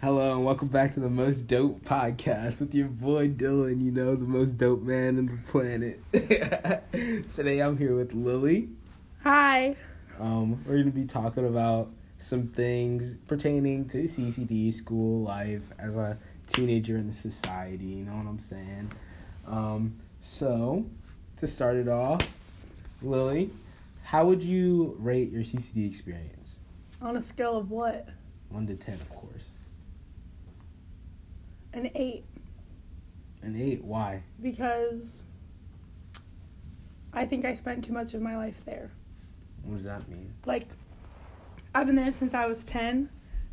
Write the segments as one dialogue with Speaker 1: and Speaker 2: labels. Speaker 1: going? Welcome back to the most dope podcast with your boy Dylan, you know, the most dope man on the planet. Today I'm here with Lily.
Speaker 2: Hi.
Speaker 1: Um, we're going to be talking about some things pertaining to CCD, school life as a teenager in the society, you know what I'm saying? Um, so, to start it off, Lily, how would you rate your CCD experience?
Speaker 2: On a scale of what?
Speaker 1: One to ten, of course.
Speaker 2: An eight,
Speaker 1: An eight, why?
Speaker 2: because I think I spent too much of my life there.
Speaker 1: What does that mean?
Speaker 2: Like, I've been there since I was 10,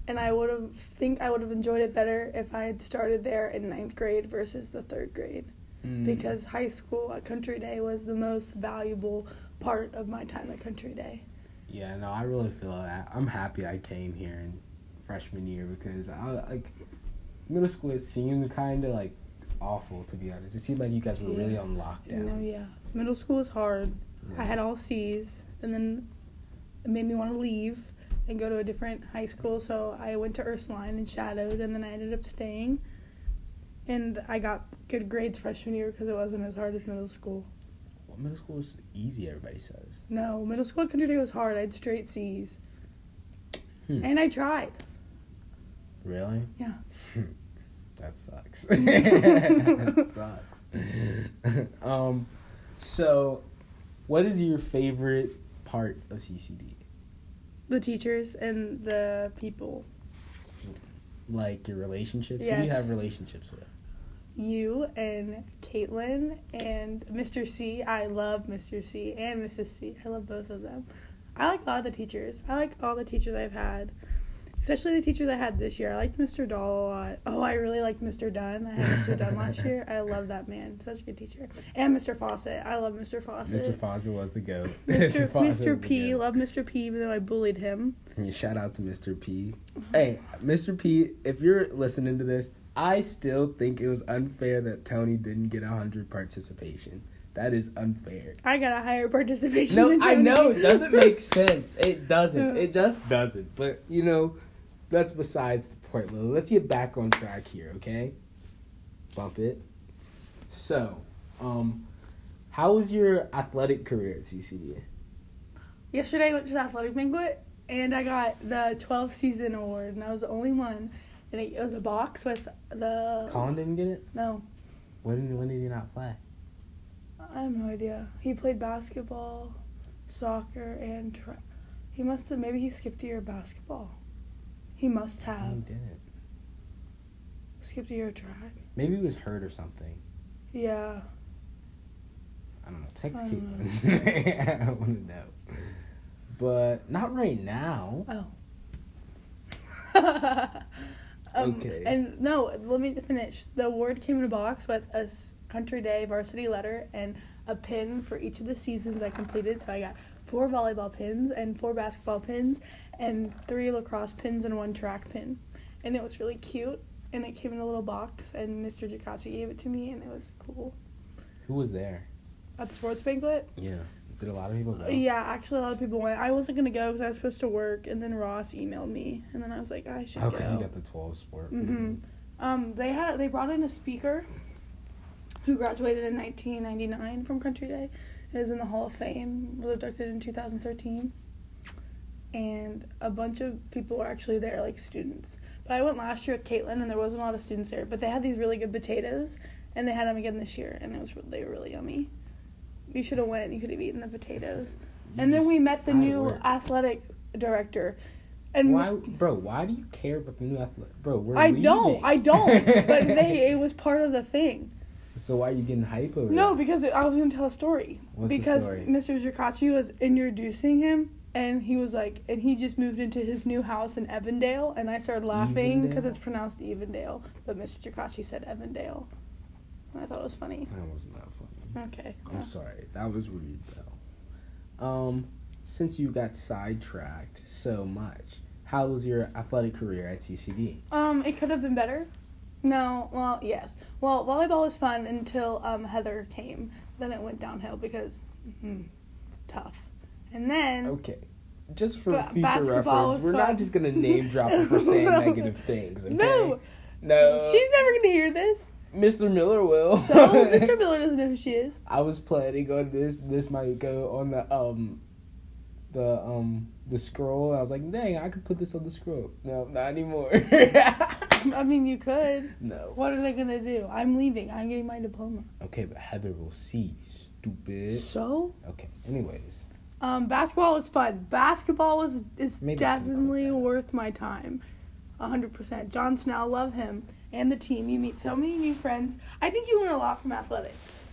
Speaker 2: and I would have think I would have enjoyed it better if I had started there in ninth grade versus the third grade. Because high school at Country Day was the most valuable part of my time at Country Day.
Speaker 1: yeah, no, I really feel that. I'm happy I came here in freshman year because I like middle school. It seemed kind of like awful to be honest. It seemed like you guys were really on
Speaker 2: You know,
Speaker 1: lockdown.
Speaker 2: yeah. Middle school was hard. I had all C's, and then it made me want to leave and go to a different high school. So I went to Ursuline and shadowed, and then I ended up staying. And I got good grades freshman year because it wasn't as hard as middle school.
Speaker 1: Well, middle school is easy. Everybody says.
Speaker 2: No, middle school at Country Day was hard. I had straight C's,
Speaker 1: Hmm.
Speaker 2: and I tried.
Speaker 1: Really?
Speaker 2: Yeah.
Speaker 1: that sucks. that sucks. um, so, what is your favorite part of CCD?
Speaker 2: The teachers and the people,
Speaker 1: Like your relationships? Who do you
Speaker 2: Yes.
Speaker 1: have relationships with?
Speaker 2: you and Caitlin and Mr. C. I love Mr. C. and Mrs. C. I love both of them. I like a lot of the teachers. I like all the teachers I've had, especially the teachers I had this year. I liked Mr. Doll a lot. Oh, I really liked Mr. Dunn. I had Mr. Dunn last year. I love that man. Such a good teacher. And Mr. Fawcett. I love Mr. Fawcett.
Speaker 1: Mr. Fozzie was the goat.
Speaker 2: Mr.
Speaker 1: Fonzo was
Speaker 2: Mr.
Speaker 1: the
Speaker 2: P.
Speaker 1: goat.
Speaker 2: Love Mr. P. Even though I bullied him.
Speaker 1: Yeah, shout out to Mr. P. Hey, Mr. P, if you're listening to this, I still think it was unfair that Tony didn't get 100 participation. That is unfair.
Speaker 2: I got a higher participation.
Speaker 1: No,
Speaker 2: than
Speaker 1: I know
Speaker 2: Tony.
Speaker 1: it doesn't make sense. It doesn't. It just doesn't. But, you know, that's besides the point, Lily. Let's get back on track here, okay? Bump it. So, um, how was your athletic career at CCD?
Speaker 2: Yesterday I went to the athletic banquet and I got the 12 season award and I was the only one. And it was a box with the
Speaker 1: Colin didn't get it?
Speaker 2: no,
Speaker 1: When, when did he not play?
Speaker 2: I have no idea. He played basketball, soccer, and tra- he must have maybe he skipped a year of basketball. He must
Speaker 1: No, he
Speaker 2: have
Speaker 1: didn't.
Speaker 2: skipped a year of track.
Speaker 1: Maybe he was hurt or something.
Speaker 2: Yeah,
Speaker 1: I don't know. Text
Speaker 2: I don't
Speaker 1: Caitlin. I want to know. But not right now.
Speaker 2: Oh. um,
Speaker 1: Okay.
Speaker 2: And no, let me finish. The award came in a box with a s- Country Day varsity letter and a pin for each of the seasons I completed. So I got four volleyball pins and four basketball pins and three lacrosse pins and one track pin. And it was really cute. And it came in a little box, and Mr. Jacassi gave it to me, and it was cool.
Speaker 1: Who was there?
Speaker 2: At the sports banquet,
Speaker 1: Yeah. Did a lot of people go?
Speaker 2: yeah, actually, a lot of people went. I wasn't gonna go because I was supposed to work, and then Ross emailed me, and then I was like, I should
Speaker 1: Oh,
Speaker 2: go.
Speaker 1: because you got the 12 sport. Mm-hmm.
Speaker 2: hmm Um, they had they brought in a speaker who graduated in 1999 from Country Day. and Is in the Hall of Fame. Was abducted in 2013, and a bunch of people were actually there, like students. But I went last year with Caitlin, and there wasn't a lot of students there. But they had these really good potatoes, and they had them again this year, and it was they were really yummy. You should have went. You could have eaten the potatoes.
Speaker 1: You
Speaker 2: and then
Speaker 1: just-
Speaker 2: we met the
Speaker 1: how it
Speaker 2: new
Speaker 1: worked.
Speaker 2: athletic director, and
Speaker 1: Why, bro? Why do you care about the new athlete, bro? We're
Speaker 2: I
Speaker 1: leaving.
Speaker 2: don't. I don't. but they, it was part of the thing.
Speaker 1: So why are you getting hype over?
Speaker 2: No,
Speaker 1: it?
Speaker 2: because it, I was gonna tell a story.
Speaker 1: What's the
Speaker 2: because
Speaker 1: story?
Speaker 2: Mr. Jakachi was introducing him, and he was like, and he just moved into his new house in Evandale, and I started laughing because
Speaker 1: Evandale?
Speaker 2: it's pronounced Evandale, but Mr. Jakachi said Evandale, and I thought it was funny.
Speaker 1: that was not funny.
Speaker 2: Okay.
Speaker 1: I'm sorry. That was rude, though. Um, since you got sidetracked so much, how was your athletic career at CCD?
Speaker 2: Um, it could have been better. No, well, yes. Well, volleyball was fun until um, Heather came. Then it went downhill because mhm, tough. hmm, And then
Speaker 1: Okay. just for
Speaker 2: Ba-
Speaker 1: future
Speaker 2: basketball
Speaker 1: reference,
Speaker 2: was
Speaker 1: we're
Speaker 2: fun.
Speaker 1: not just gonna name drop her for saying
Speaker 2: No.
Speaker 1: negative things. Okay?
Speaker 2: No,
Speaker 1: no.
Speaker 2: she's never gonna hear this.
Speaker 1: Mr. Miller will.
Speaker 2: So Mr. Miller doesn't know who she is.
Speaker 1: I was planning on this. This might go on the um, the um, the scroll. I was like, dang, I could put this on the scroll. No, not anymore.
Speaker 2: I mean, you could.
Speaker 1: no.
Speaker 2: What are they gonna do? I'm leaving. I'm getting my diploma.
Speaker 1: Okay, but Heather will see. Stupid.
Speaker 2: So,
Speaker 1: Okay. Anyways,
Speaker 2: um, basketball was fun. Basketball was is
Speaker 1: Maybe we can include
Speaker 2: definitely
Speaker 1: that.
Speaker 2: worth my time. A hundred percent. John Snell, love him and the team. You meet so many new friends. I think you learn a lot from athletics.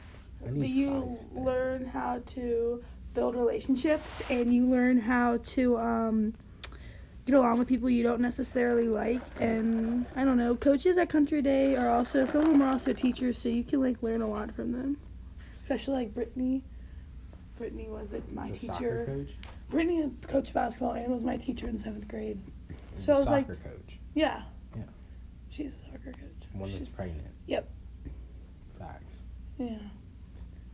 Speaker 1: I
Speaker 2: But
Speaker 1: need
Speaker 2: you
Speaker 1: five then.
Speaker 2: learn how to build relationships and you learn how to um, get along with people you don't necessarily like. And I don't know, coaches at Country Day are also, some of them are also teachers, so you can like learn a lot from them. Especially like Brittany. Brittany was like, my
Speaker 1: the soccer
Speaker 2: teacher.
Speaker 1: coach.
Speaker 2: Brittany coached basketball and was my teacher in seventh grade.
Speaker 1: and
Speaker 2: So
Speaker 1: the
Speaker 2: I was like-
Speaker 1: soccer coach,
Speaker 2: Yeah.
Speaker 1: Yeah.
Speaker 2: She's a soccer coach.
Speaker 1: one that's
Speaker 2: She's-
Speaker 1: pregnant.
Speaker 2: Yep.
Speaker 1: Facts.
Speaker 2: Yeah.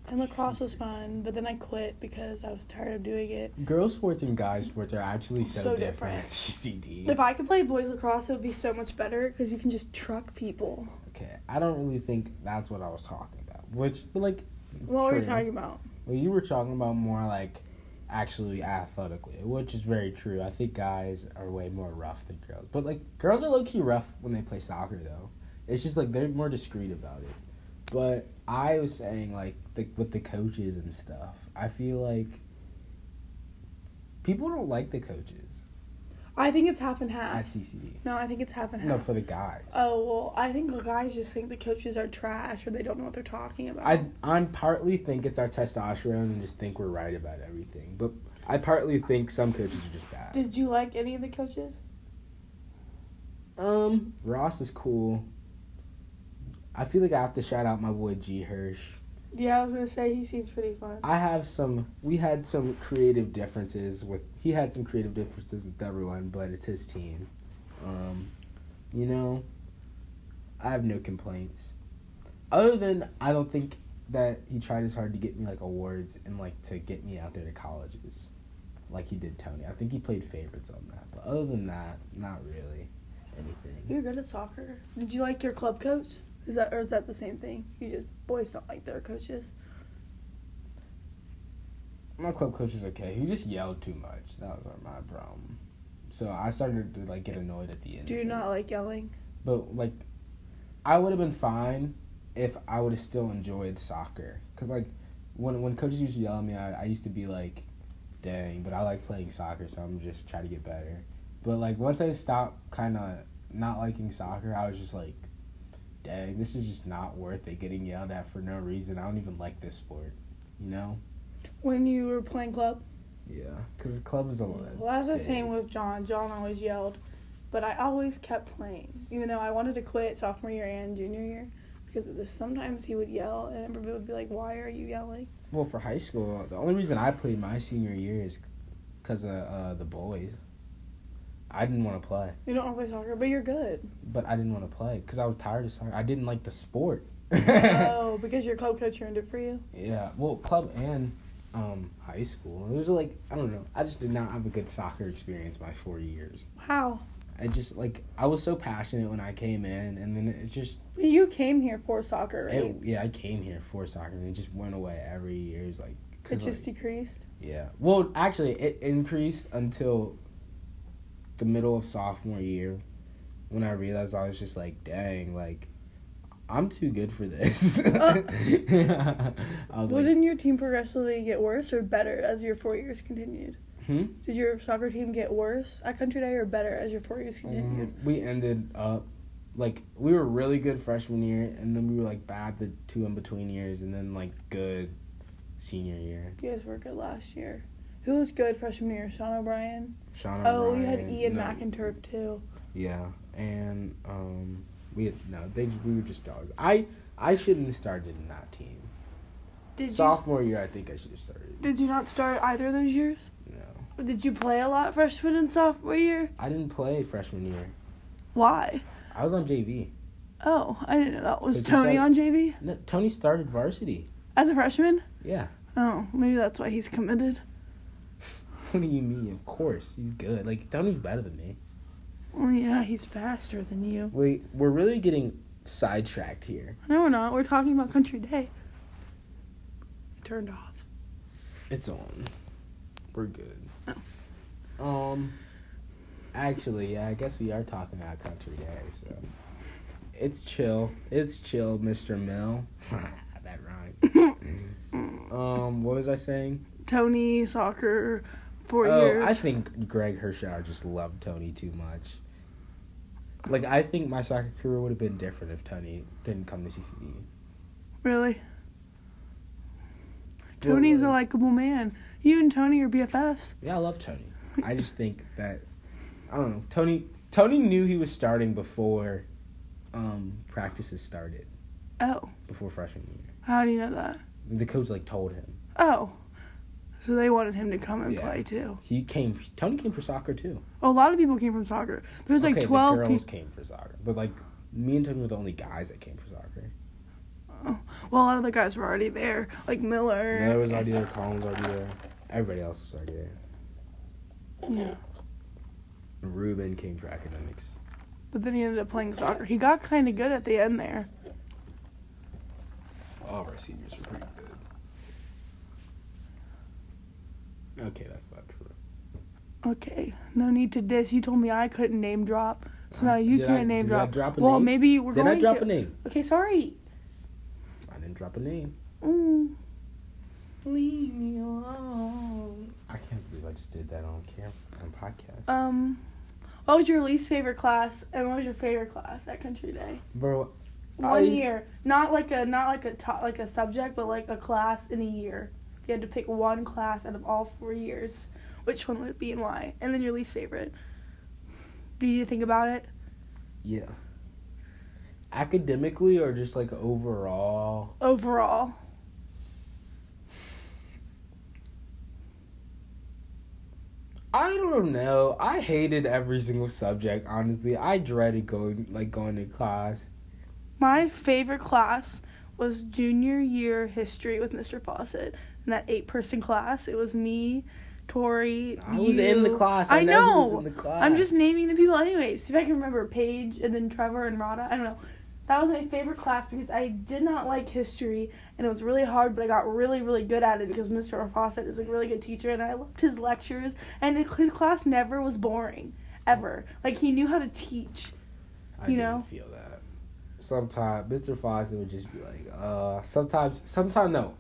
Speaker 2: And lacrosse was fun, but then I quit because I was tired of doing it.
Speaker 1: Girl sports and guy sports are actually so,
Speaker 2: So
Speaker 1: different.
Speaker 2: different.
Speaker 1: at CCD.
Speaker 2: If I could play boys lacrosse, it would be so much better because you can just truck people.
Speaker 1: Okay, I don't really think that's what I was talking about. Which, but like,
Speaker 2: What were you
Speaker 1: true.
Speaker 2: talking about?
Speaker 1: Well, you were talking about more like actually athletically, which is very true. I think guys are way more rough than girls, but like girls are low key rough when they play soccer though. It's just like they're more discreet about it. But I was saying like the, with the coaches and stuff, I feel like people don't like the coaches
Speaker 2: I think it's half and
Speaker 1: at
Speaker 2: half.
Speaker 1: CCD.
Speaker 2: No, I think it's half and half.
Speaker 1: No, for the guys.
Speaker 2: oh well, I think the guys just think the coaches are trash or they don't know what they're talking about.
Speaker 1: I I partly think it's our testosterone and just think we're right about everything, but I partly think some coaches are just bad.
Speaker 2: Did you like any of the coaches?
Speaker 1: Um, Ross is cool. I feel like I have to shout out my boy G Hirsch.
Speaker 2: Yeah, I was gonna say he seems pretty fun.
Speaker 1: I have some. We had some creative differences with. He had some creative differences with everyone, but it's his team. Um, you know, I have no complaints. Other than I don't think that he tried as hard to get me like awards and like to get me out there to colleges, like he did Tony. I think he played favorites on that, but other than that, not really anything.
Speaker 2: You're good at soccer. Did you like your club coach? Is that or is that the same thing? You just boys don't like their coaches.
Speaker 1: my club coach is okay. He just yelled too much. That was like, my problem. So I started to like get annoyed at the end.
Speaker 2: Do you
Speaker 1: of it.
Speaker 2: not like yelling?
Speaker 1: But like, I would have been fine if I would have still enjoyed soccer. Cause like, when when coaches used to yell at me, I, I used to be like, dang. But I like playing soccer, so I'm just trying to get better. But like once I stopped kind of not liking soccer, I was just like, dang, this is just not worth it. Getting yelled at for no reason. I don't even like this sport. You know.
Speaker 2: When you were playing club?
Speaker 1: Yeah, because the club is a lot.
Speaker 2: Well, that's the
Speaker 1: big.
Speaker 2: same with John. John always yelled, but I always kept playing, even though I wanted to quit sophomore year and junior year because of this. sometimes he would yell and everybody would be like, "Why are you yelling?"
Speaker 1: Well, for high school, the only reason I played my senior year is because of uh, the boys. I didn't want to play,
Speaker 2: You don't want to play soccer, but you're good.
Speaker 1: but I didn't want to play because I was tired of soccer. I didn't like the sport.
Speaker 2: oh, because your club coach earned it for you.
Speaker 1: Yeah, well, club and um, high school. It was like I don't know. I just did not have a good soccer experience my four years.
Speaker 2: Wow.
Speaker 1: I just like I was so passionate when I came in, and then it just
Speaker 2: But You came here for soccer, right?
Speaker 1: it, yeah I came here for soccer, and it just went away every year. It was like
Speaker 2: it
Speaker 1: 'cause,
Speaker 2: just decreased.
Speaker 1: Yeah. Well, actually, it increased until the middle of sophomore year when I realized I was just like, dang, like, I'm too good for this.
Speaker 2: Uh.
Speaker 1: I was
Speaker 2: Well,
Speaker 1: like,
Speaker 2: didn't your team progressively get worse or better as your four years continued?
Speaker 1: hmm?
Speaker 2: Did your soccer team get worse at Country Day or better as your four years continued?
Speaker 1: Mm, we ended up, like, we were really good freshman year, and then we were, like, bad the two in between years, and then, like, good senior year.
Speaker 2: You guys were good last year. Who was good freshman year? Sean O'Brien.
Speaker 1: Sean
Speaker 2: Oh, you had
Speaker 1: O'Brien,
Speaker 2: Ian
Speaker 1: no.
Speaker 2: McInturf too.
Speaker 1: Yeah, and um, we had, no, they we were just dogs. I I shouldn't have started in that team.
Speaker 2: Did
Speaker 1: Sophomore year, I think I should have started.
Speaker 2: you did you not start either of those years?
Speaker 1: No,
Speaker 2: Did you play a lot freshman and sophomore year?
Speaker 1: I didn't play freshman year.
Speaker 2: Why?
Speaker 1: I was on JV.
Speaker 2: Oh, I didn't know that. Was
Speaker 1: Did you
Speaker 2: Tony
Speaker 1: start-
Speaker 2: on JV
Speaker 1: No, Tony started varsity.
Speaker 2: as a freshman?
Speaker 1: Yeah,
Speaker 2: Oh, maybe that's why he's committed.
Speaker 1: What do you mean? Of course, he's good. Like Downey's better than me.
Speaker 2: Oh yeah, he's faster than you.
Speaker 1: Wait, we're really getting sidetracked here.
Speaker 2: No, we're not. We're talking about Country Day. It turned off.
Speaker 1: It's on. We're good.
Speaker 2: Oh.
Speaker 1: Um, actually, yeah, I guess we are talking about Country Day, so it's chill. It's chill, Mister Mill. that rhymes. um, what was I saying?
Speaker 2: Tony soccer, four
Speaker 1: oh,
Speaker 2: years.
Speaker 1: I think Greg Hershauer just loved Tony too much. Like I think my soccer career would have been different if Tony didn't come to CCD.
Speaker 2: really, Tony's a likable man. You and Tony are BFFs.
Speaker 1: Yeah, I love Tony. I just think that I don't know. Tony Tony knew he was starting before um, practices started,
Speaker 2: Oh,
Speaker 1: before freshman year.
Speaker 2: how do you know that?
Speaker 1: The coach like told him.
Speaker 2: Oh, so they wanted him to come and
Speaker 1: Yeah.
Speaker 2: play too.
Speaker 1: He came Tony came for soccer too.
Speaker 2: Oh, a lot of people came from soccer. There's like
Speaker 1: okay, the
Speaker 2: twelve
Speaker 1: girls
Speaker 2: people.
Speaker 1: came for soccer. But like me and Tony were the only guys that came for soccer.
Speaker 2: Well, a lot of the guys were already there, like Miller.
Speaker 1: Miller was already there, Collins already there. Everybody else was already there.
Speaker 2: Yeah.
Speaker 1: Ruben came for academics.
Speaker 2: But then he ended up playing soccer. He got kind of good at the end there.
Speaker 1: All of our seniors were pretty good. Okay, that's not true.
Speaker 2: Okay, no need to diss. You told me I couldn't name drop, so now you
Speaker 1: Did I-
Speaker 2: can't name
Speaker 1: did I
Speaker 2: drop.
Speaker 1: drop a
Speaker 2: well,
Speaker 1: name?
Speaker 2: maybe we're
Speaker 1: Did
Speaker 2: going
Speaker 1: I drop
Speaker 2: to.
Speaker 1: a name?
Speaker 2: Okay, sorry.
Speaker 1: I didn't drop a name.
Speaker 2: Mm.
Speaker 1: Leave me alone. I can't believe I just did that on camera on podcast.
Speaker 2: Um, what was your least favorite class, and what was your favorite class at Country Day?
Speaker 1: Bro,
Speaker 2: One
Speaker 1: I-
Speaker 2: year, not like a not like a to- like a subject, but like a class in a year. If you had to pick one class out of all four years, which one would it be and why? And then your least favorite. Do you need to think about it?
Speaker 1: yeah. Academically or just like overall?
Speaker 2: Overall,
Speaker 1: I don't know. I hated every single subject, honestly. I dreaded going like going to class.
Speaker 2: my favorite class was junior year history with Mr. Fawcett. In that eight person class, it was me, Tori.
Speaker 1: I was in the
Speaker 2: you-
Speaker 1: class.
Speaker 2: I,
Speaker 1: I,
Speaker 2: know.
Speaker 1: Was in the class.
Speaker 2: I'm just naming the people, anyways. If I can remember, Paige and then Trevor and Rada. I don't know. That was my favorite class because I did not like history and it was really hard, but I got really, really good at it because Mr. Fawcett is a really good teacher and I loved his lectures. And it- his class never was boring, ever. Like, he knew how to teach.
Speaker 1: I
Speaker 2: you
Speaker 1: didn't
Speaker 2: know?
Speaker 1: feel that. Sometimes Mr. Fawcett would just be like, uh sometimes sometimes no.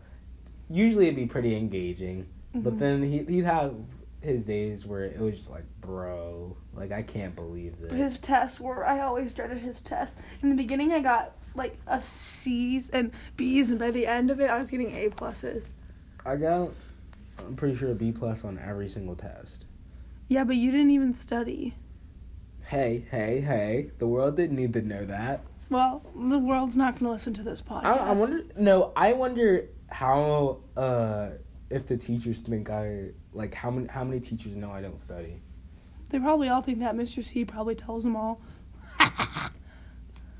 Speaker 1: Usually it'd be pretty engaging. But
Speaker 2: Mhm.
Speaker 1: then he he'd have his days where it was just like, bro, like I can't believe this.
Speaker 2: His tests were, I always dreaded his tests. In the beginning, I got like a C's and B's, and by the end of it, I was getting A pluses.
Speaker 1: I got I'm pretty sure a B plus on every single test.
Speaker 2: Yeah, but you didn't even study.
Speaker 1: Hey, hey, hey. The world didn't need to know that.
Speaker 2: Well, the world's not going to listen to this podcast.
Speaker 1: I, I wonder no, I wonder how uh if the teachers think I like how many how many teachers know I don't study.
Speaker 2: They probably all think that Mr. C probably tells them all.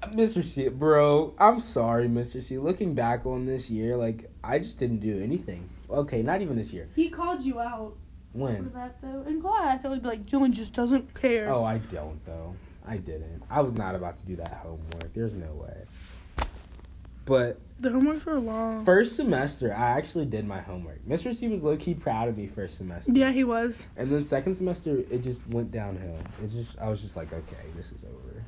Speaker 1: Mr. C, bro, I'm sorry, Mr. C. Looking back on this year, like I just didn't do anything. Okay, not even this year.
Speaker 2: He called you out for
Speaker 1: When?
Speaker 2: that though in class. I would be like, Dylan just doesn't care.
Speaker 1: Oh, I don't though. I didn't. I was not about to do that homework. There's no way. But
Speaker 2: The homeworks were long.
Speaker 1: first semester, I actually did my homework. Mr. C was low key proud of me first semester.
Speaker 2: yeah, he was.
Speaker 1: And then second semester, it just went downhill. It just I was just like, okay, this is over.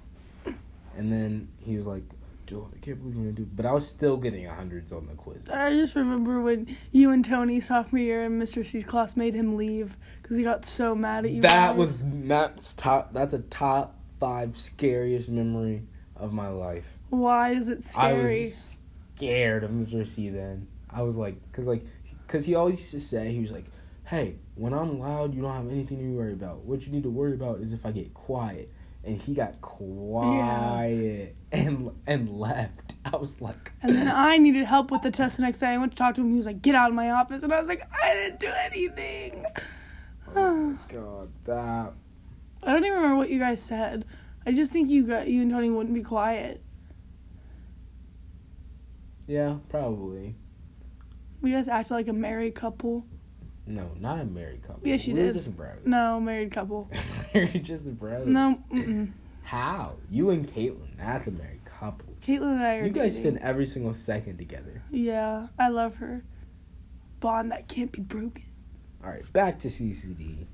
Speaker 1: And then he was like, Joel, I can't believe you're gonna do. But I was still getting hundreds on the quiz.
Speaker 2: I just remember when you and Tony sophomore year in Mr. C's class made him leave because he got so mad at you.
Speaker 1: That
Speaker 2: guys.
Speaker 1: was that's top. That's a top five scariest memory of my life.
Speaker 2: why is it scary?
Speaker 1: I was scared of Mr. C. Then I was like, cause like, cause he always used to say he was like, "Hey, when I'm loud, you don't have anything to worry about. What you need to worry about is if I get quiet." And he got quiet and and left. I was like,
Speaker 2: And then uh, I needed help with the test the next day. I went to talk to him. He was like, "Get out of my office," and I was like, "I didn't do anything."
Speaker 1: "Oh God, that
Speaker 2: I don't even remember what you guys said. I just think you got you and Tony wouldn't be quiet.
Speaker 1: yeah, probably.
Speaker 2: We guys acted like a married couple.
Speaker 1: No, not a married couple.
Speaker 2: Yes, you
Speaker 1: we were
Speaker 2: did.
Speaker 1: just bros.
Speaker 2: No, married couple.
Speaker 1: we were just bros.
Speaker 2: No, mm-mm.
Speaker 1: How? You and Caitlin, that's a married couple.
Speaker 2: Caitlin and I are.
Speaker 1: You guys
Speaker 2: dating.
Speaker 1: spend every single second together.
Speaker 2: Yeah, I love her. Bond that can't be broken.
Speaker 1: All right, back to CCD.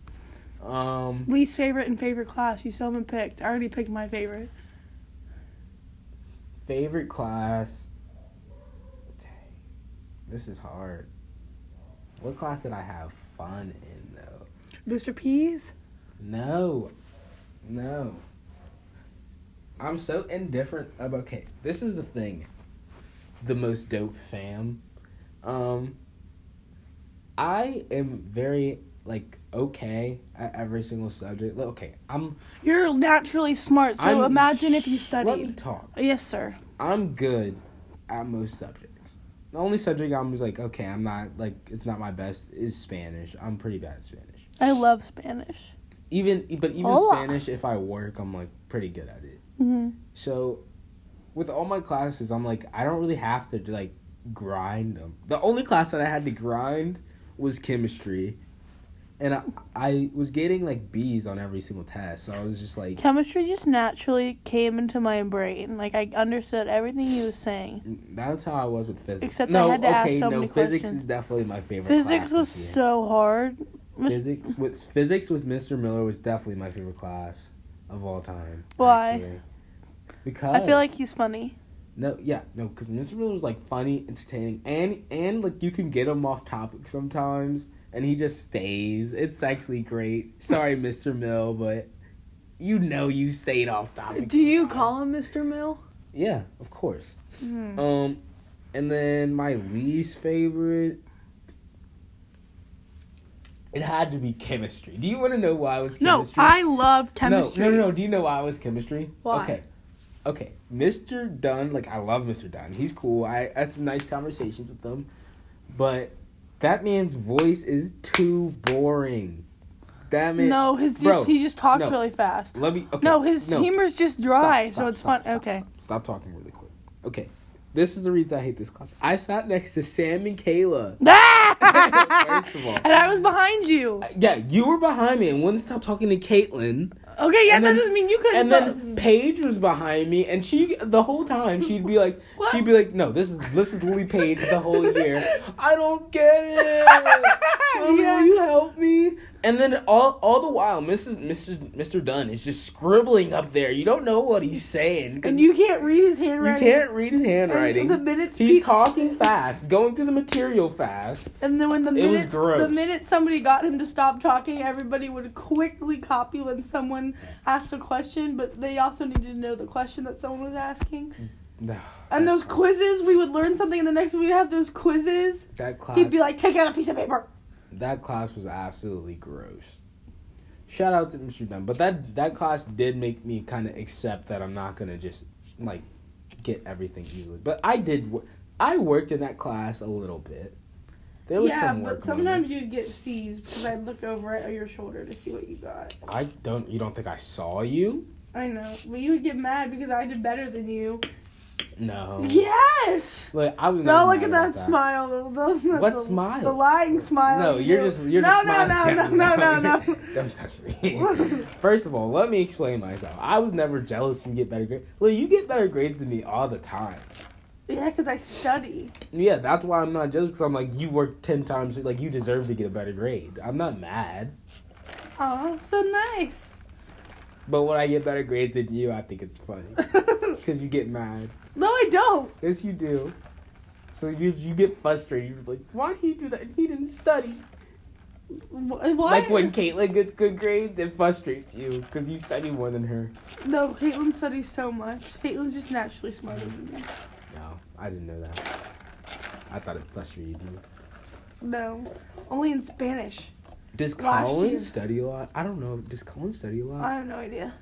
Speaker 1: Um,
Speaker 2: Least favorite and favorite class. You still haven't picked. I already picked my favorite.
Speaker 1: favorite class. Dang, this is hard. What class did I have fun in though?
Speaker 2: Mr. Pease.
Speaker 1: No, no. I'm so indifferent about. Okay, this is the thing. The most dope fam. Um, I am very like okay at every single subject. Like, Okay, I'm.
Speaker 2: You're naturally smart, so
Speaker 1: I'm-
Speaker 2: imagine if you
Speaker 1: Shh, Let me
Speaker 2: studied.
Speaker 1: talk.
Speaker 2: yes, sir.
Speaker 1: I'm good at most subjects. The only subject I'm just like, okay, I'm not like it's not my best is Spanish. I'm pretty bad at Spanish.
Speaker 2: I love Spanish.
Speaker 1: Even but even
Speaker 2: Hola.
Speaker 1: Spanish if I work, I'm like pretty good at it.
Speaker 2: hmm
Speaker 1: So with all my classes, I'm like I don't really have to like grind them. The only class that I had to grind was chemistry. And I, I was getting like B's on every single test. So I was just like
Speaker 2: Chemistry just naturally came into my brain. Like I understood everything he was saying.
Speaker 1: that's how I was with physics.
Speaker 2: Except I
Speaker 1: no,
Speaker 2: had to ask
Speaker 1: okay,
Speaker 2: so
Speaker 1: no,
Speaker 2: many
Speaker 1: physics
Speaker 2: questions.
Speaker 1: is definitely my favorite
Speaker 2: Physics
Speaker 1: class
Speaker 2: was
Speaker 1: this year.
Speaker 2: so hard. Mis-
Speaker 1: Physics with physics with Mr. Miller was definitely my favorite class of all time.
Speaker 2: Why?
Speaker 1: actually. Because
Speaker 2: I feel like he's funny.
Speaker 1: no, yeah, no, because Mr. Miller was like funny, entertaining, and and like you can get him off topic sometimes, and he just stays. It's actually great. Sorry, Mr. Mill, but you know you stayed off topic.
Speaker 2: Do you
Speaker 1: sometimes.
Speaker 2: call him Mr. Mill?
Speaker 1: Yeah, of course.
Speaker 2: Hmm.
Speaker 1: Um, and then my least favorite. It had to be chemistry. Do you want to know why it was
Speaker 2: No,
Speaker 1: chemistry?
Speaker 2: I love chemistry.
Speaker 1: No, no, no, no. Do you know why it was chemistry?
Speaker 2: Why?
Speaker 1: Okay. Okay. Mr. Dunn, like I love Mr. Dunn. He's cool. I had some nice conversations with him. But that man's voice is too boring. That man
Speaker 2: No, his just,
Speaker 1: Bro,
Speaker 2: he just talks
Speaker 1: no.
Speaker 2: really fast.
Speaker 1: let me okay,
Speaker 2: No, his humor's just dry,
Speaker 1: Stop, stop,
Speaker 2: so it's
Speaker 1: stop,
Speaker 2: fun.
Speaker 1: stop,
Speaker 2: okay.
Speaker 1: Stop, stop talking really quick. Okay. This is the reason I hate this class. I sat next to Sam and Kayla.
Speaker 2: Ah!
Speaker 1: First of all.
Speaker 2: And I was behind you.
Speaker 1: Yeah, you were behind me and wouldn't stop talking to Caitlin.
Speaker 2: Okay, yeah,
Speaker 1: And
Speaker 2: that
Speaker 1: then-
Speaker 2: doesn't mean you
Speaker 1: And
Speaker 2: couldn't.
Speaker 1: then Paige was behind me and she the whole time she'd be like
Speaker 2: What?
Speaker 1: she'd be like, No, this is this is Lily Paige the whole year. I don't get it. Mommy,
Speaker 2: Yeah.
Speaker 1: will you help me? And then all all the while Mrs. Mrs. Mr. Dunn is just scribbling up there. You don't know what he's saying. 'cause
Speaker 2: and you can't read his
Speaker 1: You
Speaker 2: handwriting.
Speaker 1: can't read his handwriting.
Speaker 2: And the minutes
Speaker 1: He's
Speaker 2: peop-
Speaker 1: talking fast, going through the material fast.
Speaker 2: And then when the
Speaker 1: It was
Speaker 2: minute
Speaker 1: gross.
Speaker 2: the minute somebody got him to stop talking, everybody would quickly copy when someone asked a question, but they also needed to know the question that someone was asking.
Speaker 1: No.
Speaker 2: And those quizzes, we would learn something, and the next week we'd have those quizzes.
Speaker 1: that class
Speaker 2: He'd be like, "Take out a piece of paper."
Speaker 1: that class was absolutely gross. Shout out to Mr. Dunn, but that that class did make me kind of accept that I'm not gonna just like get everything easily. But I did. wo- I worked in that class a little bit. There was
Speaker 2: yeah,
Speaker 1: some work.
Speaker 2: but
Speaker 1: moments.
Speaker 2: sometimes you'd get C's because I'd look over at your shoulder to see what you got.
Speaker 1: I don't. You don't think I saw you?
Speaker 2: I know, but you would get mad because I did better than you.
Speaker 1: No.
Speaker 2: Yes.
Speaker 1: Like I was.
Speaker 2: No,
Speaker 1: never
Speaker 2: look
Speaker 1: mad
Speaker 2: at
Speaker 1: about
Speaker 2: that, smile. The, the,
Speaker 1: What
Speaker 2: the-
Speaker 1: smile?
Speaker 2: The lying smile.
Speaker 1: No, you're
Speaker 2: too.
Speaker 1: just you're
Speaker 2: no,
Speaker 1: just
Speaker 2: no,
Speaker 1: smiling.
Speaker 2: No, no, no, no, no,
Speaker 1: Don't touch me. First of all, let me explain myself. I was never jealous you get better grades. Look, you get better grades than me all the time.
Speaker 2: yeah, because I study.
Speaker 1: Yeah, that's why I'm not jealous. Because I'm like, you work ten times. Like you deserve to get a better grade. I'm not mad.
Speaker 2: Oh, so nice.
Speaker 1: But when I get better grades than you, I think it's funny because you get mad.
Speaker 2: no, I don't.
Speaker 1: Yes, you do. So you you get frustrated. You're like, why did he do that? He didn't study.
Speaker 2: Wh- What?
Speaker 1: Like when Caitlin gets good grades, it frustrates you because you study more than her.
Speaker 2: No, Caitlin studies so much. Caitlin's just naturally smarter than me.
Speaker 1: No, I didn't know that. I thought it frustrated you.
Speaker 2: No, only in Spanish.
Speaker 1: Does
Speaker 2: Last
Speaker 1: Colin
Speaker 2: year.
Speaker 1: study a lot? I don't know. Does Colin study a lot?
Speaker 2: I have no idea.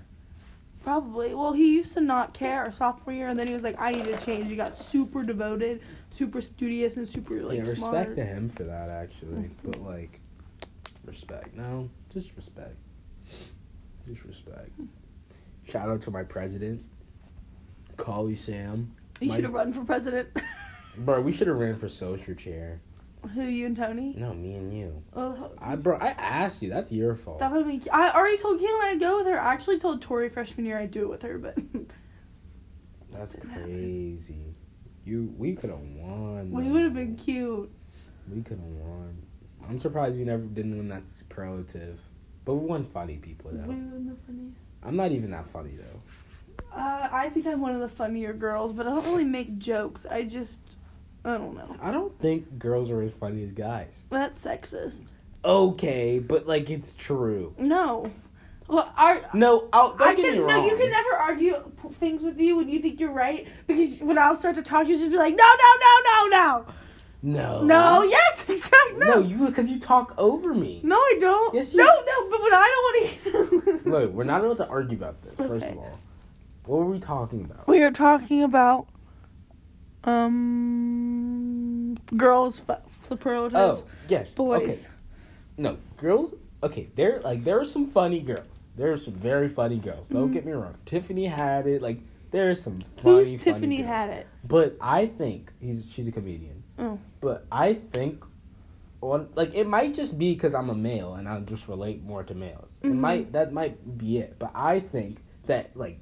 Speaker 2: Probably. Well, he used to not care our sophomore year, and then he was like, "I need to change." He got super devoted, super studious, and super like
Speaker 1: yeah, respect
Speaker 2: smart.
Speaker 1: to him for that actually, but like, respect. No, just respect. Just respect. Shout out to my president, Collie Sam.
Speaker 2: You
Speaker 1: My-
Speaker 2: should have run for president.
Speaker 1: Bro, we should have ran for social chair.
Speaker 2: Who you and Tony?
Speaker 1: No, me and you.
Speaker 2: Well,
Speaker 1: I bro, I asked you. That's your fault.
Speaker 2: that would be. I already told Caitlin I'd go with her. I actually told Tori freshman year I'd do it with her, but
Speaker 1: That's
Speaker 2: Didn't happen.
Speaker 1: crazy. You, we could have won.
Speaker 2: we
Speaker 1: man.
Speaker 2: would have been cute.
Speaker 1: We could have won. I'm surprised we never didn't win that superlative. But we won funny people
Speaker 2: We would have
Speaker 1: though.
Speaker 2: been the funniest.
Speaker 1: I'm not even that funny though.
Speaker 2: Uh, I think I'm one of the funnier girls, but I don't really make jokes. I just, I don't know.
Speaker 1: I don't think girls are as funny as guys.
Speaker 2: That's sexist.
Speaker 1: Okay, but like it's true.
Speaker 2: No. Well, our,
Speaker 1: No, I'll, don't
Speaker 2: I
Speaker 1: get
Speaker 2: can,
Speaker 1: me wrong.
Speaker 2: No, you can never argue p- things with you when you think you're right because when I'll start to talk, you'll just be like, no, no, no, no,
Speaker 1: No.
Speaker 2: no, no, yes, exactly,
Speaker 1: Oh. No,
Speaker 2: no.
Speaker 1: you because you talk over me.
Speaker 2: No, I don't.
Speaker 1: Yes, you-
Speaker 2: no, no, but when I don't want to.
Speaker 1: Look, we're not allowed to argue about this. First
Speaker 2: Okay.
Speaker 1: of all, what were we talking about?
Speaker 2: We are talking about um girls f- superlatives,
Speaker 1: Oh, yes. Okay.
Speaker 2: boys.
Speaker 1: No, girls. Okay, there like there are some funny girls. There are some very funny girls. Don't get me wrong. Tiffany had it. Like there are some funny.
Speaker 2: Mm-hmm. Who's
Speaker 1: funny
Speaker 2: Tiffany
Speaker 1: girls.
Speaker 2: had it?
Speaker 1: But I think he's she's a comedian.
Speaker 2: Oh.
Speaker 1: But I think on like it might just be because I'm a male and I just relate more to males. It
Speaker 2: Mhm.
Speaker 1: might that might be it. But I think that like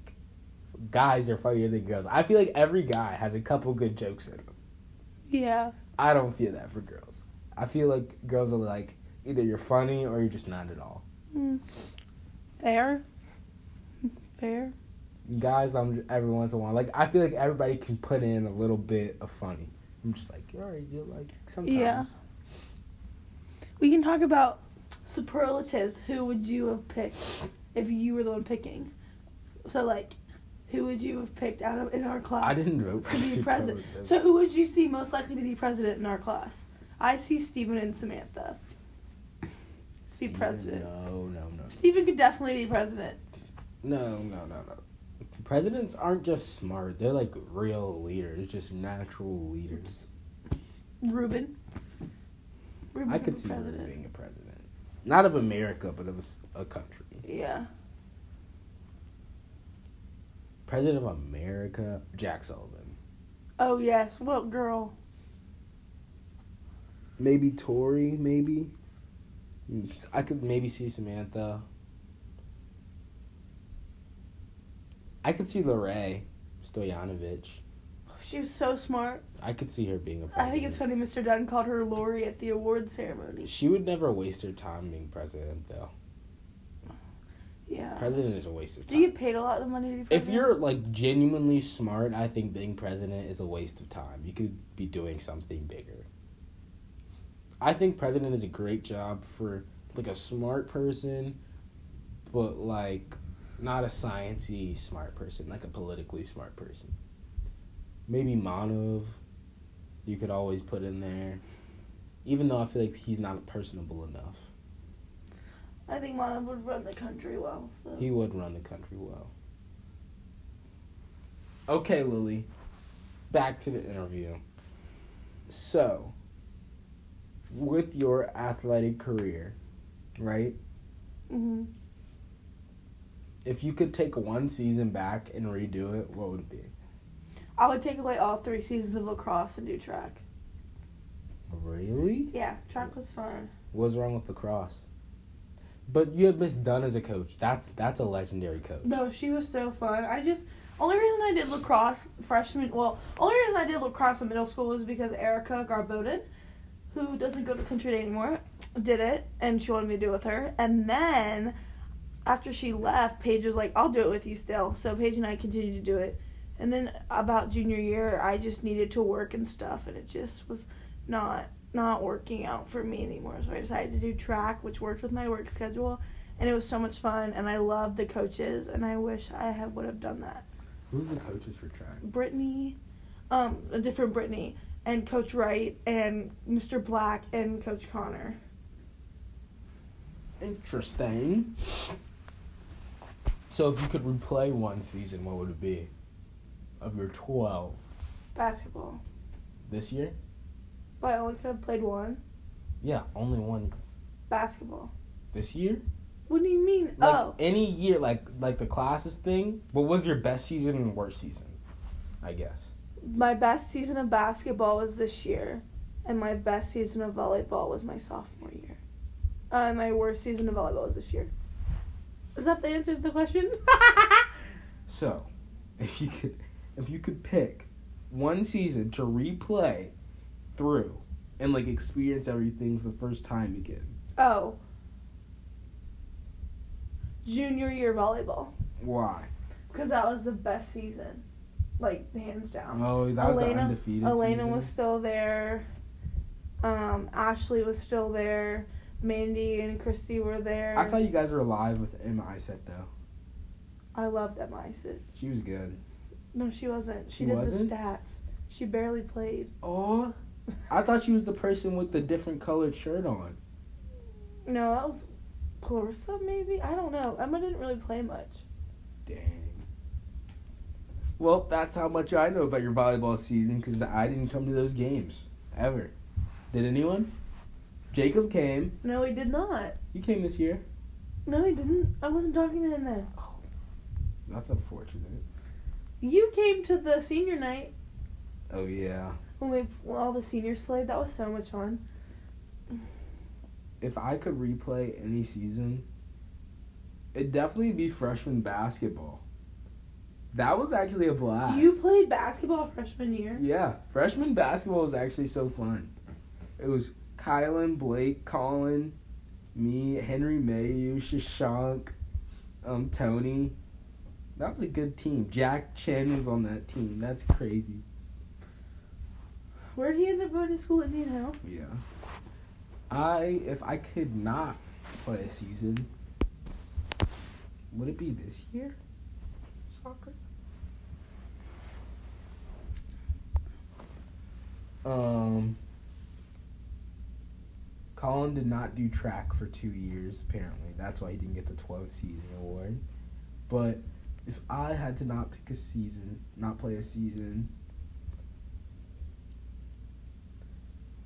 Speaker 1: guys are funnier than girls. I feel like every guy has a couple good jokes in them.
Speaker 2: Yeah.
Speaker 1: I don't feel that for girls. I feel like girls are like either you're funny or you're just not at all.
Speaker 2: Mm. Fair. Fair.
Speaker 1: Guys, I'm j- every once in a while like I feel like everybody can put in a little bit of funny. I'm just like, all right, you're like sometimes.
Speaker 2: Yeah. We can talk about superlatives. Who would you have picked if you were the one picking? So like, who would you have picked out of in our class?
Speaker 1: I didn't vote for
Speaker 2: to be president.
Speaker 1: superlative.
Speaker 2: So who would you see most likely to be president in our class? I see Stephen and Samantha. Be president.
Speaker 1: No, no, no.
Speaker 2: Stephen could definitely be president.
Speaker 1: No, no, no, no. Presidents aren't just smart. They're like real leaders, just natural leaders.
Speaker 2: Ruben. Ruben
Speaker 1: I
Speaker 2: could
Speaker 1: could
Speaker 2: be
Speaker 1: see Ruben being a president. Not of America, but of a s- a, country.
Speaker 2: Yeah.
Speaker 1: President of America, Jack Sullivan.
Speaker 2: Oh yes. What girl?
Speaker 1: Maybe Tory, maybe. I could maybe see Samantha. I could see Lorraine Stoyanovich.
Speaker 2: She was so smart.
Speaker 1: I could see her being a president.
Speaker 2: I think it's funny Mr. Dunn called her Lori at the award ceremony.
Speaker 1: She would never waste her time being president, though.
Speaker 2: Yeah.
Speaker 1: President is a waste of
Speaker 2: Uh, Do
Speaker 1: time.
Speaker 2: you get paid a lot of money to be
Speaker 1: if
Speaker 2: president?
Speaker 1: you're like genuinely smart, I think being president is a waste of time. You could be doing something bigger. I think president is a great job for like a smart person, but like not a sciencey smart person, like a politically smart person. Maybe Manov, you could always put in there, even though I feel like he's not personable enough.
Speaker 2: I think Lana would run the country well. So.
Speaker 1: He would run the country well. Okay, Lily. Back to the interview. So, with your athletic career, right?
Speaker 2: hmm
Speaker 1: If you could take one season back and redo it, what would it be?
Speaker 2: I would take away all three seasons of lacrosse and do track.
Speaker 1: Really?
Speaker 2: Yeah, track was fun.
Speaker 1: What's wrong with lacrosse? But you had Miss Dunn as a coach. That's that's a legendary coach.
Speaker 2: No, she was so fun. I just only reason I did lacrosse freshman well, only reason I did lacrosse in middle school was because Erica Garboden, who doesn't go to country day anymore, did it and she wanted me to do it with her. And then after she left, Paige was like, I'll do it with you still. So Paige and I continued to do it. And then about junior year I just needed to work and stuff and it just was not not working out for me anymore. So I decided to do track, which worked with my work schedule and it was so much fun and i loved the coaches and i wish i had would have done that
Speaker 1: Who's the coaches for track?
Speaker 2: brittany um a different brittany and coach wright and mr black and coach connor
Speaker 1: Interesting. So if you could replay one season, what would it be? Of your twelve
Speaker 2: basketball
Speaker 1: this year?
Speaker 2: but i only could have played one
Speaker 1: Yeah, only one
Speaker 2: basketball
Speaker 1: this year.
Speaker 2: what do you mean
Speaker 1: Like
Speaker 2: oh
Speaker 1: any year, like like the classes thing. What was your best season and worst season? I guess.
Speaker 2: my best season of basketball was this year and my best season of volleyball was my sophomore year. Uh, my worst season of volleyball was this year. Is that the answer to the question?
Speaker 1: So, if you could, if you could pick one season to replay through and like experience everything for the first time again,
Speaker 2: oh. Junior year volleyball.
Speaker 1: why?
Speaker 2: Because that was the best season. Like, hands down.
Speaker 1: Oh, that was the undefeated
Speaker 2: Um, Elena
Speaker 1: season.
Speaker 2: was still there. Um, Ashley was still there. Mandy and Christy were there.
Speaker 1: I thought you guys were alive with Emma Iset though.
Speaker 2: I loved Emma Isid.
Speaker 1: She was good.
Speaker 2: No, she wasn't. She,
Speaker 1: She
Speaker 2: did
Speaker 1: wasn't?
Speaker 2: the stats. She barely played.
Speaker 1: Oh, I thought she was the person with the different colored shirt on.
Speaker 2: No, that was Clarissa, maybe? I don't know. Emma didn't really play much.
Speaker 1: Dang. Well, that's how much I know about your volleyball season because I didn't come to those games ever. Did anyone? Jacob came.
Speaker 2: No, he did not.
Speaker 1: You came this year.
Speaker 2: No, he didn't. I wasn't talking to him then.
Speaker 1: That's unfortunate.
Speaker 2: You came to the senior night
Speaker 1: Oh yeah.
Speaker 2: when we when all the seniors played. That was so much fun.
Speaker 1: If I could replay any season, it'd definitely be freshman basketball. That was actually a blast.
Speaker 2: You played basketball freshman year.
Speaker 1: Yeah, freshman basketball was actually so fun. It was Kylan, Blake, Colin, me, Henry Mayu, Shashank, um, Tony. That was a good team. Jack Chen was on that team. That's crazy.
Speaker 2: Where did he end up going to school? Indian Hill.
Speaker 1: Yeah. I if I could not play a season, would it be this year? Soccer. Um. Colin did not do track for two years. Apparently, that's why he didn't get the 12th season award. But if I had to not pick a season, not play a season,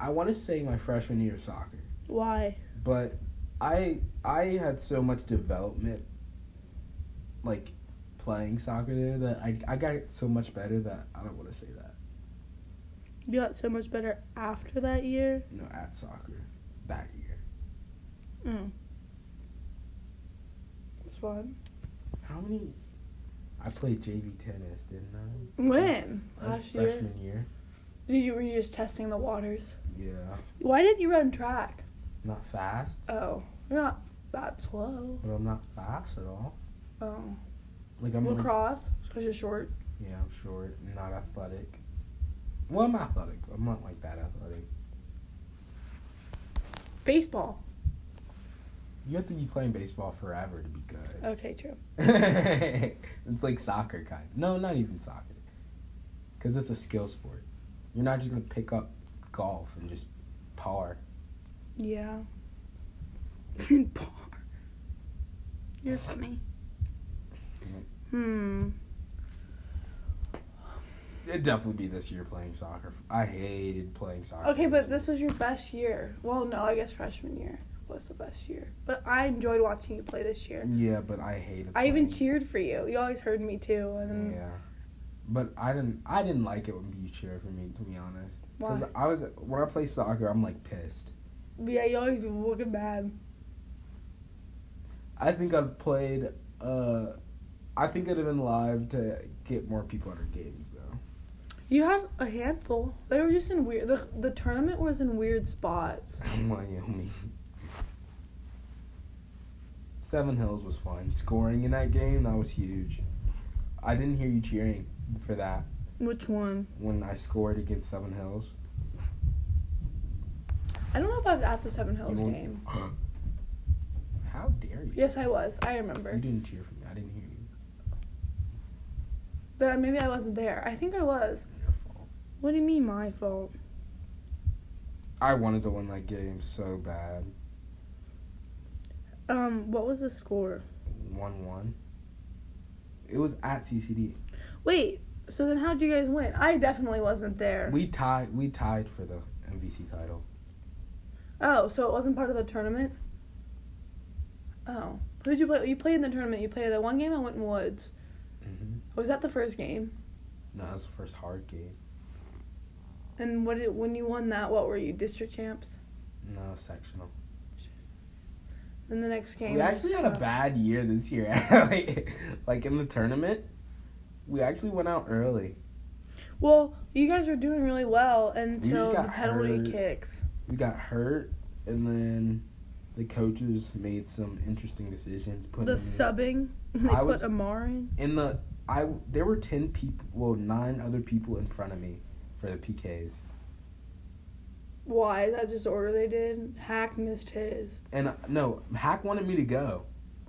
Speaker 1: I want to say my freshman year of soccer
Speaker 2: Why?
Speaker 1: but I I had so much development like playing soccer there that I I got so much better that I don't want to say that.
Speaker 2: You got so much better after that year.
Speaker 1: You know, at soccer that year.
Speaker 2: Mm. It's fun.
Speaker 1: How many I played JV tennis, didn't I?
Speaker 2: When?
Speaker 1: That was
Speaker 2: Last year.
Speaker 1: Freshman year.
Speaker 2: Did you were you just testing the waters?
Speaker 1: Yeah.
Speaker 2: Why did you run track?
Speaker 1: Not fast,
Speaker 2: Oh, you're not that slow.
Speaker 1: but I'm not fast at all.
Speaker 2: Oh,
Speaker 1: Like I'm like,
Speaker 2: lacrosse because you're short.
Speaker 1: yeah, I'm short, not athletic. Well, I'm athletic. but I'm not like that athletic.
Speaker 2: Baseball.
Speaker 1: You have to be playing baseball forever to be good.
Speaker 2: Okay, true.
Speaker 1: it's like soccer kind. No, not even soccer. Because it's a skill sport. You're not just gonna pick up golf and just par.
Speaker 2: Yeah. You're funny. Hmm.
Speaker 1: It'd definitely be this year playing soccer. I hated playing soccer.
Speaker 2: Okay, but this was your best year. Well, no, I guess freshman year was the best year. But I enjoyed watching you play this year.
Speaker 1: Yeah, but I hated.
Speaker 2: I even
Speaker 1: playing.
Speaker 2: cheered for you. You always heard me too. And
Speaker 1: Yeah, but I didn't. I didn't like it when you cheered for me. To be honest, because
Speaker 2: Why?
Speaker 1: I was when I play soccer, I'm like pissed.
Speaker 2: yeah, you always were looking bad.
Speaker 1: I think I've played. Uh, I think I'd have been live to get more people at our games though.
Speaker 2: You had a handful. They were just in weird. The, the tournament was in weird spots.
Speaker 1: Wyoming. Seven Hills was fun. Scoring in that game, that was huge. I didn't hear you cheering for that
Speaker 2: Which one?
Speaker 1: when I scored against Seven Hills.
Speaker 2: I don't know if I was at the Seven Hills
Speaker 1: You won't-
Speaker 2: game.
Speaker 1: How dare you?
Speaker 2: Yes, I was. I
Speaker 1: You
Speaker 2: remember.
Speaker 1: didn't cheer for me. I didn't hear you.
Speaker 2: That maybe I wasn't there. I think I was.
Speaker 1: Your fault.
Speaker 2: What do you mean my fault?
Speaker 1: I wanted to win that game so bad.
Speaker 2: Um, what was the score?
Speaker 1: 1 1. It was at CCD.
Speaker 2: Wait. So then, how'd you guys win? I definitely wasn't there.
Speaker 1: We tied, we tied for the MVC title.
Speaker 2: Oh, so it wasn't part of the tournament? Oh. Who'd you play? You played in the tournament. You played the one game I went in Woods.
Speaker 1: Mm-hmm.
Speaker 2: Was that the first game?
Speaker 1: No, that was the first hard game.
Speaker 2: And what did, when you won that, what were you district champs?
Speaker 1: No sectional.
Speaker 2: Then the next game.
Speaker 1: We
Speaker 2: was
Speaker 1: actually had a
Speaker 2: tough.
Speaker 1: bad year this year. like, like in the tournament, we actually went out early.
Speaker 2: Well, you guys were doing really well until
Speaker 1: got
Speaker 2: the penalty
Speaker 1: hurt.
Speaker 2: kicks.
Speaker 1: We got hurt, and then the coaches made some interesting decisions. Putting
Speaker 2: The
Speaker 1: in-
Speaker 2: subbing. They
Speaker 1: I
Speaker 2: put
Speaker 1: was-
Speaker 2: Amar in.
Speaker 1: in the I there were ten people, well nine other people in front of me for the PKs,
Speaker 2: Why? Is that just the order they did? Hack missed his.
Speaker 1: and uh, no Hack wanted me to go,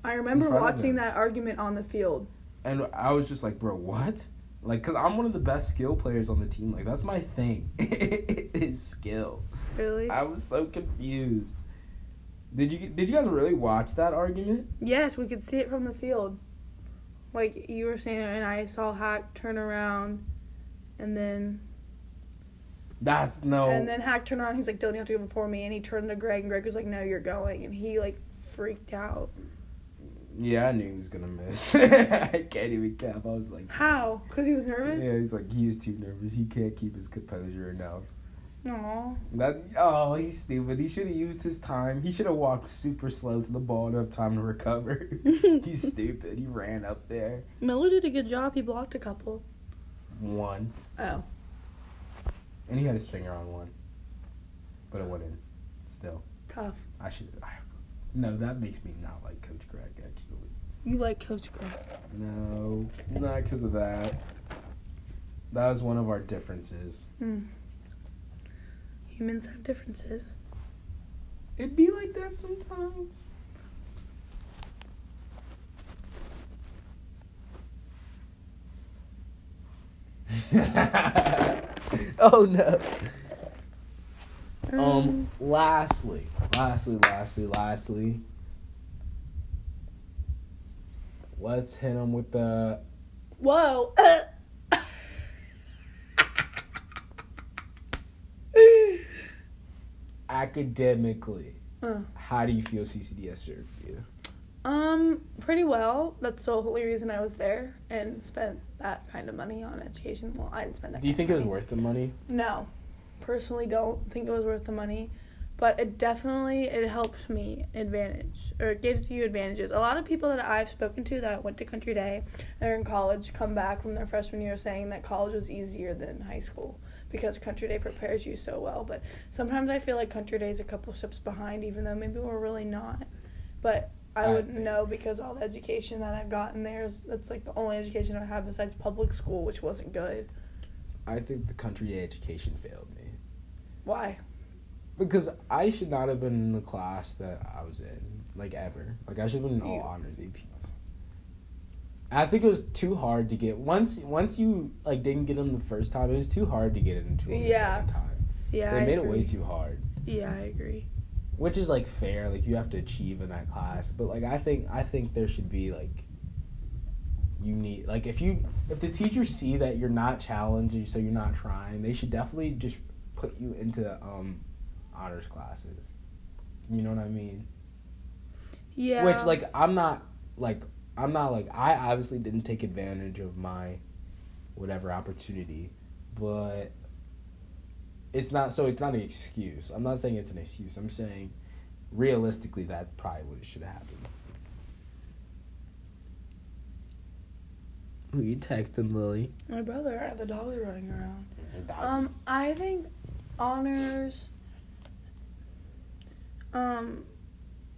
Speaker 2: I remember
Speaker 1: front of
Speaker 2: watching
Speaker 1: them.
Speaker 2: that argument on the field.
Speaker 1: and I was just like, bro, what? Like, cause I'm one of the best skill players on the team. Like that's my thing, is skill.
Speaker 2: Really?
Speaker 1: I was so confused. Did you did you guys really watch that argument?
Speaker 2: Yes, we could see it from the field. Like you were saying, and I saw Hack turn around, and then
Speaker 1: That's no.
Speaker 2: and then Hack turned around. He's like, "Don't you have to go before me?" And he turned to Greg, and Greg was like, "No, you're going." And he like freaked out.
Speaker 1: yeah, I knew he was gonna miss. I can't even cap. I was like,
Speaker 2: How? Because he was nervous.
Speaker 1: yeah, he's like he is too nervous. He can't keep his composure enough.
Speaker 2: Aw.
Speaker 1: That oh, he's stupid. He should have used his time. He should have walked super slow to the ball to have time to recover. he's stupid. He ran up there.
Speaker 2: Miller did a good job. He blocked a couple.
Speaker 1: One,
Speaker 2: Oh,
Speaker 1: and he had his finger on one, but it went in. Still,
Speaker 2: tough.
Speaker 1: I should. I, no, that makes me not like Coach Greg actually.
Speaker 2: You like Coach Greg?
Speaker 1: No, not because of that. That was one of our differences.
Speaker 2: Hmm. Humans have differences.
Speaker 1: It'd be like that sometimes. oh no. Um, lastly, lastly, lastly, lastly, let's hit him with the
Speaker 2: Whoa.
Speaker 1: academically.
Speaker 2: Uh.
Speaker 1: How do you feel CCDS served you?
Speaker 2: Um, pretty well. That's the only reason I was there and spent that kind of money on education. Well, I didn't spend that.
Speaker 1: Do you
Speaker 2: kind
Speaker 1: think
Speaker 2: of
Speaker 1: it was
Speaker 2: money.
Speaker 1: worth the money?
Speaker 2: No, personally, don't think it was worth the money, but it definitely it helps me advantage or it gives you advantages. A lot of people that I've spoken to that went to Country Day, they're in college, come back from their freshman year saying that college was easier than high school because Country Day prepares you so well. But sometimes I feel like Country Day is a couple steps behind, even though maybe we're really not. But I
Speaker 1: I
Speaker 2: wouldn't
Speaker 1: think-
Speaker 2: know because all the education that I've gotten there is that's like the only education I have besides public school, which wasn't good.
Speaker 1: I think the country day education failed me.
Speaker 2: Why?
Speaker 1: Because I should not have been in the class that I was in, like ever. Like I should have been in all
Speaker 2: You-
Speaker 1: honors AP. I think it was too hard to get once once you like didn't get them the first time. It was too hard to get into them
Speaker 2: Yeah.
Speaker 1: the second time.
Speaker 2: Yeah,
Speaker 1: they
Speaker 2: I
Speaker 1: made it way
Speaker 2: agree.
Speaker 1: too hard,
Speaker 2: Yeah, I agree.
Speaker 1: which is like fair. Like you have to achieve in that class, but like I think I think there should be like you need like if you if the teachers see that you're not challenging, so you're not trying, they should definitely just put you into um honors classes. You know what I mean?
Speaker 2: Yeah.
Speaker 1: Which like I'm not like I'm not like I obviously didn't take advantage of my whatever opportunity, but it's not so it's not an excuse. I'm not saying it's an excuse. I'm saying realistically that probably would should have happened. Who you texting Lily?
Speaker 2: my brother, the dog was running around. Um, I think honors um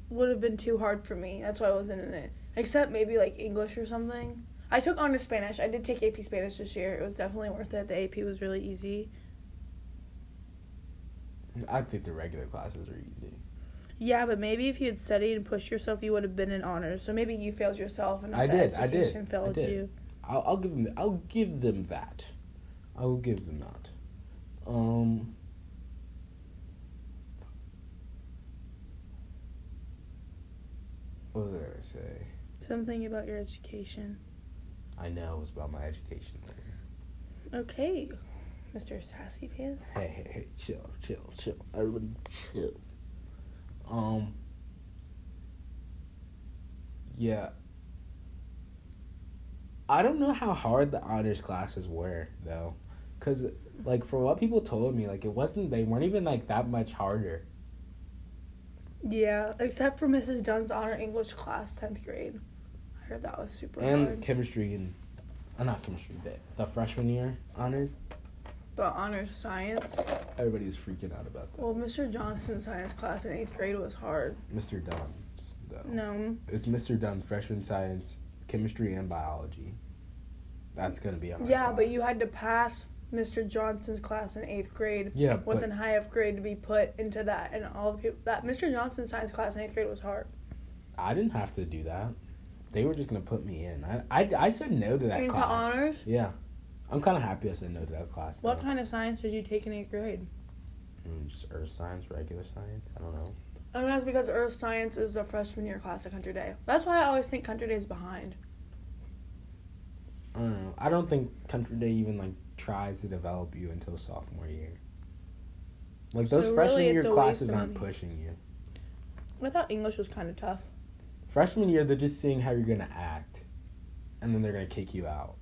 Speaker 2: would have been too hard for me. That's why I wasn't in it. Except maybe like English or something. I took honors Spanish. I did take AP Spanish this year. It was definitely worth it. The AP was really easy.
Speaker 1: I think the regular classes are easy.
Speaker 2: Yeah, but maybe if you had studied and pushed yourself, you would have been in honors. So maybe you failed yourself, and not
Speaker 1: I
Speaker 2: the
Speaker 1: did, I did,
Speaker 2: education
Speaker 1: I
Speaker 2: failed
Speaker 1: did.
Speaker 2: you.
Speaker 1: I'll, I'll give them. I'll give them that. I will give them that. Um. What was I gonna say?
Speaker 2: Something about your education.
Speaker 1: I know it was about my education.
Speaker 2: Okay, Mr. Sassy Pants.
Speaker 1: Hey, hey, hey! Chill, chill, chill. Everybody, chill. Um. Yeah. I don't know how hard the honors classes were though, Cause like for what people told me, like it wasn't they weren't even like that much harder.
Speaker 2: Yeah, except for Mrs. Dunn's honor English class, tenth grade. I heard that was super
Speaker 1: and
Speaker 2: hard.
Speaker 1: chemistry and uh, not chemistry, but the freshman year honors.
Speaker 2: The honors science.
Speaker 1: Everybody was freaking out about that.
Speaker 2: Well, Mr. Johnson's science class in eighth grade was hard.
Speaker 1: Mr. Dunn's though.
Speaker 2: No,
Speaker 1: It's Mr. Dunn, freshman science, chemistry and biology. That's gonna be a hard
Speaker 2: yeah, but
Speaker 1: class.
Speaker 2: you had to pass Mr. Johnson's class in eighth grade
Speaker 1: Yeah,
Speaker 2: with
Speaker 1: but
Speaker 2: an high of grade to be put into that, and all the people that Mr. Johnson's science class in eighth grade was hard.
Speaker 1: I didn't have to do that. They were just gonna put me in. I I, I said no to
Speaker 2: I
Speaker 1: that
Speaker 2: mean, for
Speaker 1: class.
Speaker 2: honors,
Speaker 1: Yeah, I'm kind of happy I said no to that class.
Speaker 2: what
Speaker 1: though.
Speaker 2: kind of science did you take in eighth grade?
Speaker 1: Mm, just earth science, regular science. I don't know.
Speaker 2: I mean, Oh, that's because earth science is the freshman year class at Country Day. That's why I always think Country Day is behind.
Speaker 1: I don't know. I don't think Country Day even like tries to develop you until sophomore year. Like
Speaker 2: So
Speaker 1: those freshman
Speaker 2: really, it's
Speaker 1: year
Speaker 2: a
Speaker 1: classes
Speaker 2: waste of
Speaker 1: aren't
Speaker 2: money.
Speaker 1: pushing you.
Speaker 2: I thought English was kind of tough.
Speaker 1: Freshman year, they're just seeing how you're gonna act, and then they're gonna kick you out,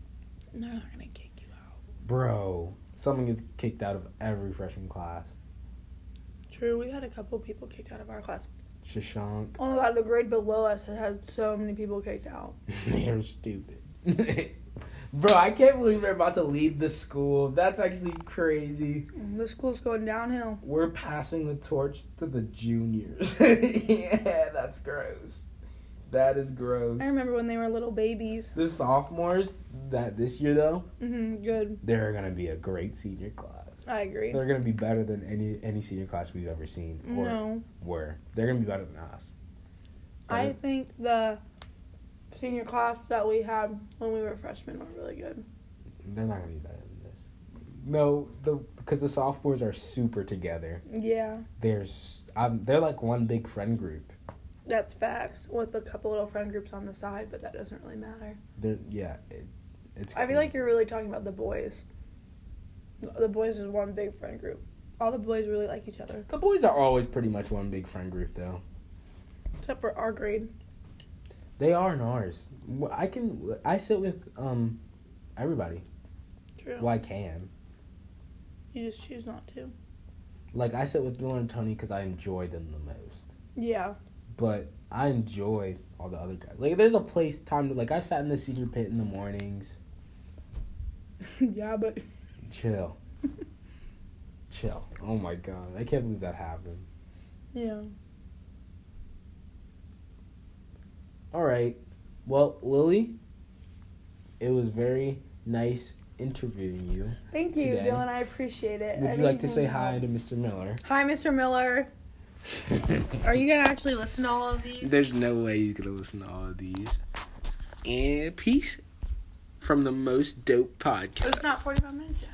Speaker 2: And they're not gonna kick you out.
Speaker 1: bro. Someone gets kicked out of every freshman class.
Speaker 2: True, we had a couple people kicked out of our class.
Speaker 1: Shashank,
Speaker 2: Oh my god, the grade below us has had so many people kicked out.
Speaker 1: they're stupid. Bro, I can't believe they're about to leave the school. That's actually crazy.
Speaker 2: Mm, The school's going downhill.
Speaker 1: We're passing the torch to the juniors. yeah, that's gross. That is gross.
Speaker 2: I remember when they were little babies.
Speaker 1: The sophomores that this year though,
Speaker 2: Mm-hmm, good.
Speaker 1: they're gonna be a great senior class.
Speaker 2: I agree.
Speaker 1: They're gonna be better than any any senior class we've ever seen or
Speaker 2: No,
Speaker 1: were. They're gonna be better than us.
Speaker 2: I think the senior class that we had when we were freshmen were really good.
Speaker 1: They're not gonna be better than this. No, the because the sophomores are super together.
Speaker 2: Yeah,
Speaker 1: There's um, they're like one big friend group.
Speaker 2: that's facts. With a couple little friend groups on the side, but that doesn't really matter.
Speaker 1: They're yeah, it, it's.
Speaker 2: I feel like you're really talking about the boys. The boys is one big friend group. All the boys really like each other,
Speaker 1: the boys are always pretty much one big friend group though.
Speaker 2: except for our grade.
Speaker 1: They are in ours. Wh- I can I sit with um everybody.
Speaker 2: True.
Speaker 1: Well, I can.
Speaker 2: You just choose not to.
Speaker 1: Like I sit with Bill and Tony because I enjoy them the most.
Speaker 2: Yeah.
Speaker 1: But I enjoyed all the other guys. Like there's a place time to like I sat in the senior pit in the mornings.
Speaker 2: yeah, but
Speaker 1: Chill. Chill. Oh my god. I can't believe that happened.
Speaker 2: yeah.
Speaker 1: Alright. Well, Lily, it was very nice interviewing you.
Speaker 2: Thank you,
Speaker 1: Today.
Speaker 2: Dylan. I appreciate it.
Speaker 1: Would you like to say
Speaker 2: Anything-
Speaker 1: hi to Mr. Miller?
Speaker 2: Hi, Mr. Miller. Are you gonna actually listen to all of these?
Speaker 1: There's no way he's gonna listen to all of these. And peace from the most dope podcast.
Speaker 2: It's not 45 minutes yet.